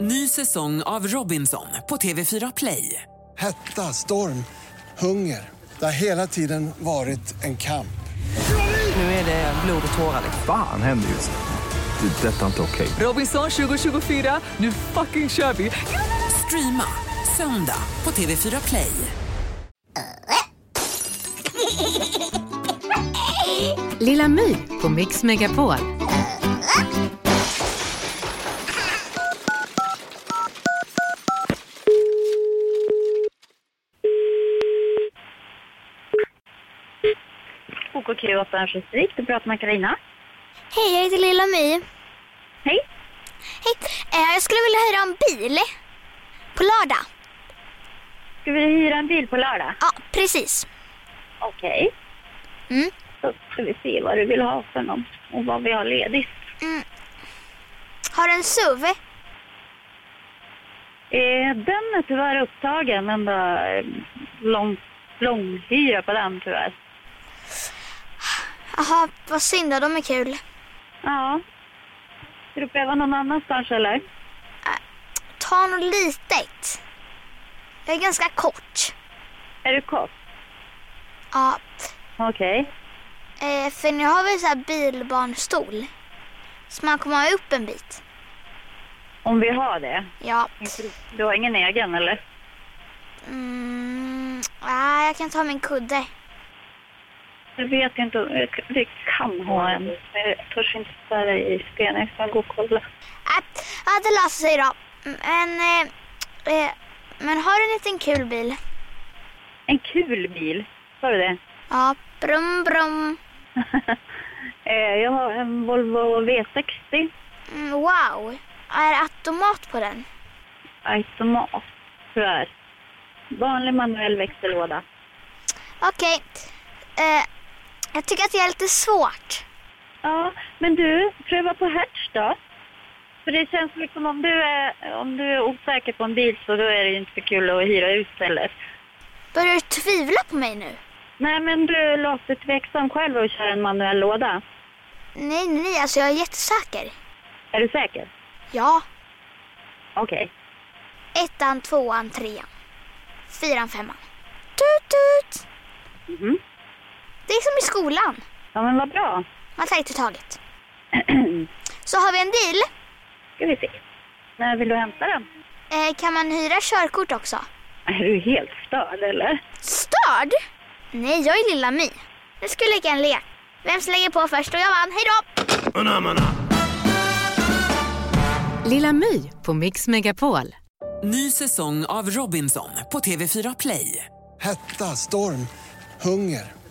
Ny säsong av Robinson på TV4 Play. Hetta, storm, hunger. Det har hela tiden varit en kamp. Nu är det blod och tårar. liksom. Fan händer just nu. Det. är Detta är inte okej. Robinson 2024, nu fucking kör vi! Streama söndag på TV4 Play. Lilla My på Mix Megapol. OKQ8 Örnsköldsvik, du pratar med Carina. Hej, jag heter Lilla My. Hej. Hej. Eh, jag skulle vilja hyra en bil. På lördag. Ska vi hyra en bil på lördag? Ja, precis. Okej. Mm. Då ska vi se vad du vill ha för någon och vad vi har ledigt. Har du en SUV? Eh, den är tyvärr upptagen, den där eh, lång, långhyra på den tyvärr. Jaha, vad synd då, de är kul. Ja. Ska du pröva någon annanstans eller? Ta något litet. Jag är ganska kort. Är du kort? Ja, Okej. eh, för nu har vi så här bilbarnstol. Så man kommer upp en bit. Om vi har det. Ja. Du har ingen egen eller? Mm, ah, jag kan ta min kudde. Jag vet inte, om- jag- vi kan ha en. men Jag törs inte svära i sten, jag ska gå och kolla. Ah, ja, det löser sig då. Men, eh, eh, men har du en liten kul bil? En kul bil, sa du det? Ja, brum brum. Eh, Jag har en Volvo V60 Mm, wow! Är det automat på den? automat, tyvärr. Vanlig manuell växellåda. Okej. Eh, jag tycker att det är lite svårt. Ja, men du, pröva på Hertz då. För det känns liksom om du är, om du är osäker på en bil så då är det ju inte så kul att hyra ut heller. Börjar du tvivla på mig nu? Nej, men du låter tveksam själv att köra en manuell låda. Nej, nej, nej, alltså jag är jättesäker. Är du säker? Ja. Okej. Ettan, tvåan, trean. Fyran, femman. Tut, tut! Mhm. Det är som i skolan. Ja, men vad bra. Man tar ett i taget. Så har vi en deal. Ska vi se. När vill du hämta den? Eh, kan man hyra körkort också? Är du helt störd eller? Störd? Nej, jag är Lilla My. Nu ska vi leka en lek. Vem slänger på först? Och jag vann. Hej då! Lilla My på Mix Megapol. Ny säsong av Robinson på TV4 Play. Hetta, storm, hunger.